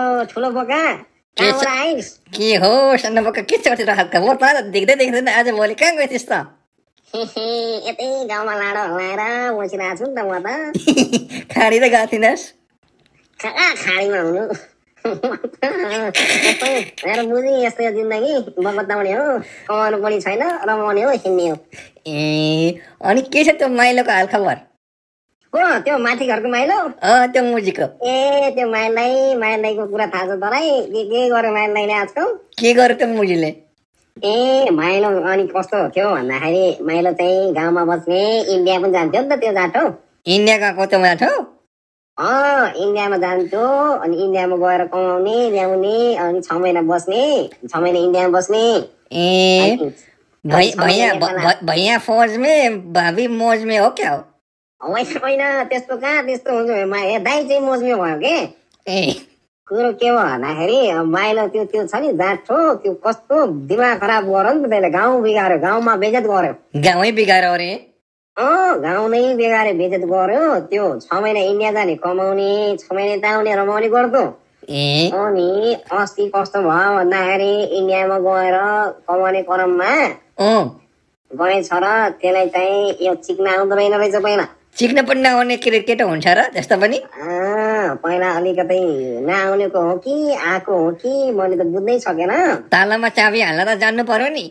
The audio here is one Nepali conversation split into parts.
बोका के कहाँबाट छ- आइस् के हो सन्नबोका के छ उठेर खालको म त देख्दै देख्दैन आज भोलि कहाँ गएँ त्यस्तो यतै गाउँमा लाडो हल्लाएर बसिरहेको छु नि त म त खाडी त गएको थिइनस् कहाँ खाडीमा हुनु यस्तै, मेरो बुझी यस्तै हो जिन्दगी बगताउने हो कमाउनु पनि छैन रमाउने हो हिँड्ने हो ए अनि के छ त्यो माइलोको हालखबर हो त्यो माथि घरको माइलो अँ त्यो मुजीको ए त्यो माइलाई माइलाईको कुरा थाहा छ तँलाई के के गर्यो माइलाईले आजकल के गर्यो त्यो मुजीले ए माइलो अनि कस्तो थियो भन्दाखेरि माइलो चाहिँ गाउँमा बस्ने इन्डिया पनि जान्थ्यो नि त त्यो जाटो इन्डिया गएको त्यो माटो अँ इन्डियामा जान्थ्यो अनि इन्डियामा गएर कमाउने ल्याउने अनि छ महिना बस्ने छ महिना इन्डियामा बस्ने ए अनि- भै- अनि छ भैया महिना नेपालमा- भ- भैया फौजमे भाभी मौजमे हो क्या हो होइन होइन त्यस्तो कहाँ त्यस्तो हुन्छ मा- ए, दाइ चाहिँ मोजमे भयो के ए कुरो के भयो भन्दाखेरि अब माइलो त्यो त्यो छ नि जाँठो त्यो कस्तो दिमाग खराब गर्यो नि त त्यसले गाउँ बिगाऱ्यो गाउँमा बेजत गर्यो गाउँै बिगाएर अरे अँ गाउँ नै बिगारे बेजत गर्यो त्यो छ महिना इन्डिया जाने कमाउने छ महिना यता आउने रमाउने गर्थ्यो ए अनि अस्ति कस्तो भयो भन्दाखेरि इन्डियामा गएर कमाउने क्रममा अँ गएछ र त्यसलाई चाहिँ यो चिक्न आउँदो रहेन रहेछ पहिला चिक्न पनि नआउने क्रिकेट हुन्छ र त्यस्तो पनि आँ, पहिला अलिकति नआउनेको हो कि आएको हो कि मैले त बुझ्नै सकेन तालामा चाबी हाल्न त जान्नु पर्यो नि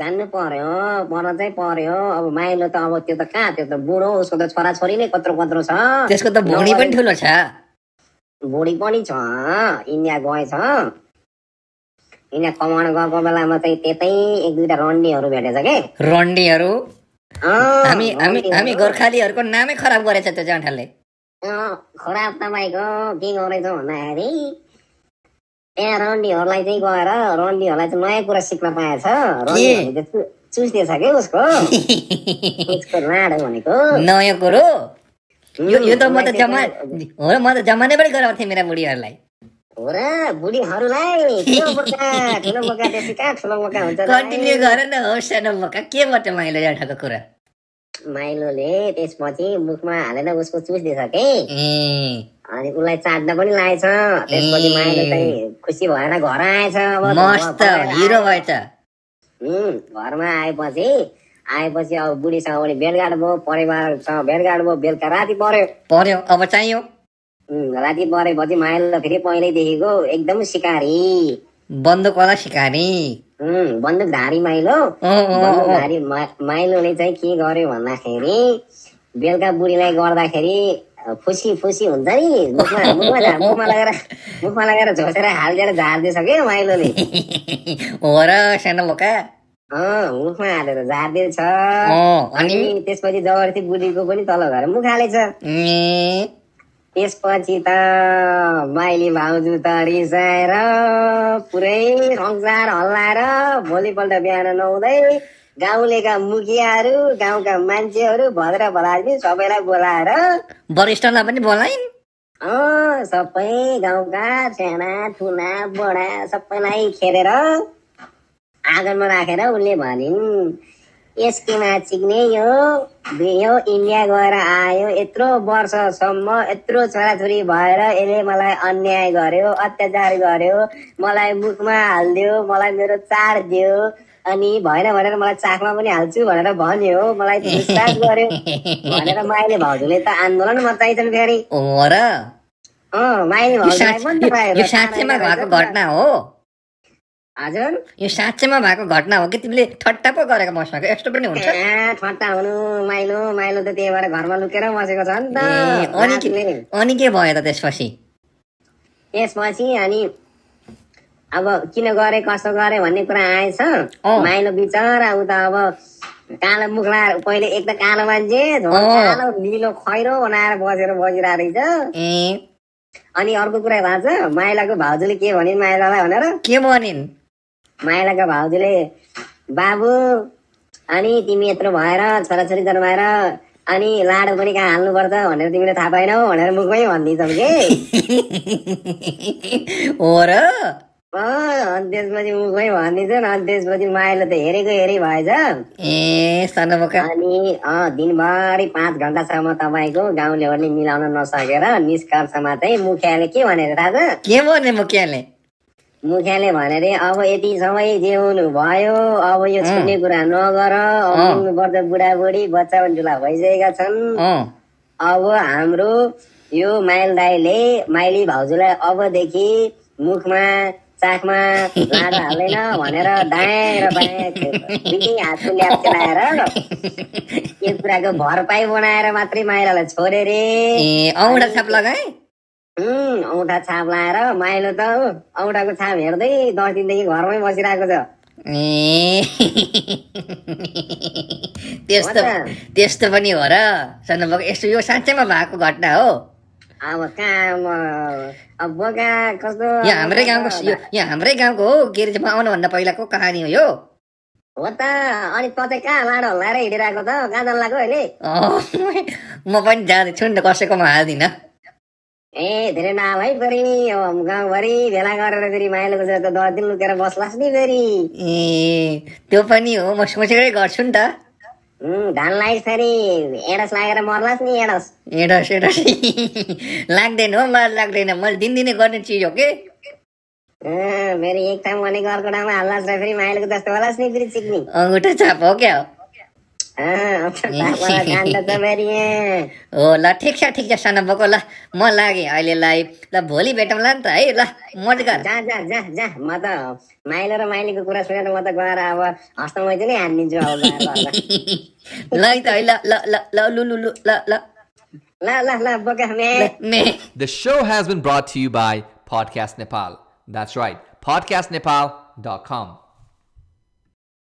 जान्नु पर्यो पर चाहिँ पर्यो अब माइलो त अब त्यो त कहाँ त्यो त बुढो उसको त छोराछोरी नै कत्रो कत्रो छ त्यसको त भुँडी पनि ठुलो छ बुढी पनि छ इन्डिया गएछ इन्डिया कमाउन गएको बेलामा चाहिँ त्यतै एक दुईवटा रन्डीहरू भेटेछ के रन्डीहरू अँ, हामी हामी रन्डीहरू। हामी गोर्खालीहरूको नामै खराब गरेछ त्यो जाँठाले अँ, खराब तपाईँको के गरेछ भन्दाखेरि त्यहाँ रन्डीहरूलाई चाहिँ गएर रन्डीहरूलाई चाहिँ नयाँ कुरा सिक्न पाएछ रन्डीहरूले चाहिँ चु- चुस्नेछ क्या उसको उसको लाड भनेको नयाँ कुरो यो यो त म त उसलाई जमा चाहिँ- हो र म त जमानै पनि गराउँथेँ मेरा बुढीहरूलाई हो र बुढीहरूलाई ठुलो बोका ठुलो बोका त्यसै कहाँ ठुलो बोका हुन्छ र? कन्टिन्यू गर न हो सानो मका के बाट माइलो जाँठाको कुरा माइलोले त्यसपछि मुखमा हालेर उसको चुस्दिएछ के ए अनि उसलाई चाट्न पनि लागेछ त्यसपछि ए। माइलो चाहिँ खुसी भएर घर आएछ अब मस्त घर आएर- हिरो भएछ उम्, घरमा आएपछि आएपछि अब बुढीसँग पनि भेटघाट भयो परिवारसँग भेटघाट भयो बेलुका राति पर्यो पर्यो अब चाहियो उम्, राति परेपछि माइलो फेरि पहिल्यैदेखिको एकदम सिकारी बन्दुकवाला सिकारी उम्, बन्दुकधारी माइलो अँ, अँ, अँ। बन्दुकधारी मा- माइलोले चाहिँ के गर्यो भन्दाखेरि बेलुका बुढीलाई गर्दाखेरि अ, फुसी फुसी हुन्छ नि मुखमा मुखमा झा- मुखमा लगेर मुखमा लगेर झोसेर हालिदिएर झारिदिएछ क्या माइलोले हो र सानो मका अँ, मुखमा हालेर झारिदिएछ अँ, अनि अनि त्यसपछि जबरजस्ती बुढीको पनि तल घर मुख हालेछ ए त्यसपछि त माइली भाउजू त रिसाएर पुरै संसार हल्लाएर भोलिपल्ट बिहान नहुँदै गाउँलेका मुखियाहरू गाउँका मान्छेहरू भद्र भदाजी सबैलाई बोलाएर वरिष्ठलाई पनि बोलाइन् अँ, सबै गाउँका साना ठुला बडा सबैलाई खेरेर आँगनमा राखेर उसले भनिन् यसकेमा चिक्ने यो बे- यो इन्डिया गएर आयो यत्रो वर्षसम्म यत्रो छोराछोरी भएर यसले मलाई अन्याय गर्यो अत्याचार गर्यो मलाई मुखमा हालिदियो मलाई मेरो चाड दियो अनि भएन भनेर मलाई चाकमा पनि हाल्छु भनेर भन्यो मलाई विश्वास गर्यो भनेर माइले भाउजूले त आन्दोलन मचाइछन् फेरि हो र अँ माइली यो भाउजूलाई साँच- पनि यो- तपाईँहरू यो साँच्चैमा भएको घटना हो हजुर यो साँच्चैमा भएको घटना हो कि तिमीले ठट्टा पो गरेको मसँग यस्तो पनि हुन्छ कहाँ ठट्टा हुनु माइलो माइलो त त्यही भएर घरमा लुकेर बसेको छ नि त ए, अनि के- रातले। अनि के भयो त त्यसपछि त्यसपछि अनि अब किन गरे कसो गरे भन्ने कुरा आएछ अँ। माइलो बिचरा उता अब कालो मुख लाएर पहिले एक त कालो मान्छे झोला अँ। कालो निलो खैरो बनाएर बसेर बसिरहेको रहेछ ए अनि अर्को कुरा भएको छ माइलाको भाउजूले के भनिन् माइलालाई भनेर के भनिन् माइलाको भाउजूले बाबु अनि तिमी यत्रो भएर छोराछोरी जन्माएर अनि लाडो पनि कहाँ हाल्नुपर्छ भनेर तिमीले थाहा पाएनौ भनेर मुखमै भनिदिन्छौ कि हो र अँ, अनि त्यसपछि मुखमै भनिदिन्छ नि अनि त्यसपछि माइलो त हेरेको हेरी भएछ ए सनबोका अनि अँ, दिनभरि पाँच घन्टासम्म तपाईँको गाउँलेहरूले मिलाउन नसकेर निष्कर्षमा चाहिँ मुखियाले के भनेर थाहा छ के भन्ने मुखियाले मुखियाले भने रे अब यति समय जिउनु भयो अब यो छुट्ने कुरा नगर अब अँ। बुढ्नुपर्छ बुढाबुढी बच्चा बन्चुला भइसकेका छन् अँ अब हाम्रो यो माइल दाईले माइली भाउजूलाई अबदेखि मुखमा चाखमा लाँदा हाल्दैन भनेर दायाँ र बायाँ दुई हातको ल्याप चलाएर यो कुराको भरपाई बनाएर मात्रै माइलालाई छोडे रे ए औडा छाप लगाए उम्, औँठा छाप लाएर माइलो त ऊ औँठाको छाप हेर्दै दस दिनदेखि घरमै बसिरहेको छ ए त्यस्तो हो त। त्यस्तो पनि हो र सनबोका यस्तो यो साँच्चैमा भएको घटना हो अब कहाँ म- अब बोका कस्तो यो हाम्रै गाउँको यो यो हाम्रै गाउँको हो के अरे चाहिँ म आउनुभन्दा पहिलाको कहानी हो यो हो त अनि त चाहिँ कहाँ लाडो हल्लाएर हिँडिरहेको त कहाँ जानु लाग्यो अहिले अँ, म पनि जाँदैछु नि त कसैकोमा हाल्दिनँ ए धेरै नाल है फेरि अब गाउँभरि भेला गरेर फेरि माइलोको छ त दस दिन लुकेर बस्लास् नि फेरि ए त्यो पनि हो म सोचेकै गर्छु नि त उम्, धान लाइस् फेरि एडस लागेर मर्लास् नि एडस एडस एडस लाग्दैन हो मलाई लाग्दैन मैले दिनदिनै गर्ने चिज हो कि अँ, फेरि एक ठाउँ भनेको अर्को ठाउँमा हाल्लास् र फेरि माइलोको जस्तो होलास् नि फेरि चिक्ने अङ्गुठा छाप हो क्या हो? अँ, बाबालाई कान्ड त फेरि यहाँ। हो ल ठिक छ ठिक छ सानोबाको ल म लागेँ अहिलेलाई ल भोलि भेटौँला नि त है ल मज गर जा जा जा जा म त माइलो र माइलीको कुरा सुनेर म त गएर अब हस्तामै चाहिँ नि हानिदिन्छु अब गएर अब। ल है त है ल ल ल ल लु लु लु ल ल ल ल ल बोका म्या ल, मे The show has been brought to you by Podcast Nepal. That's right, podcastnepal.com.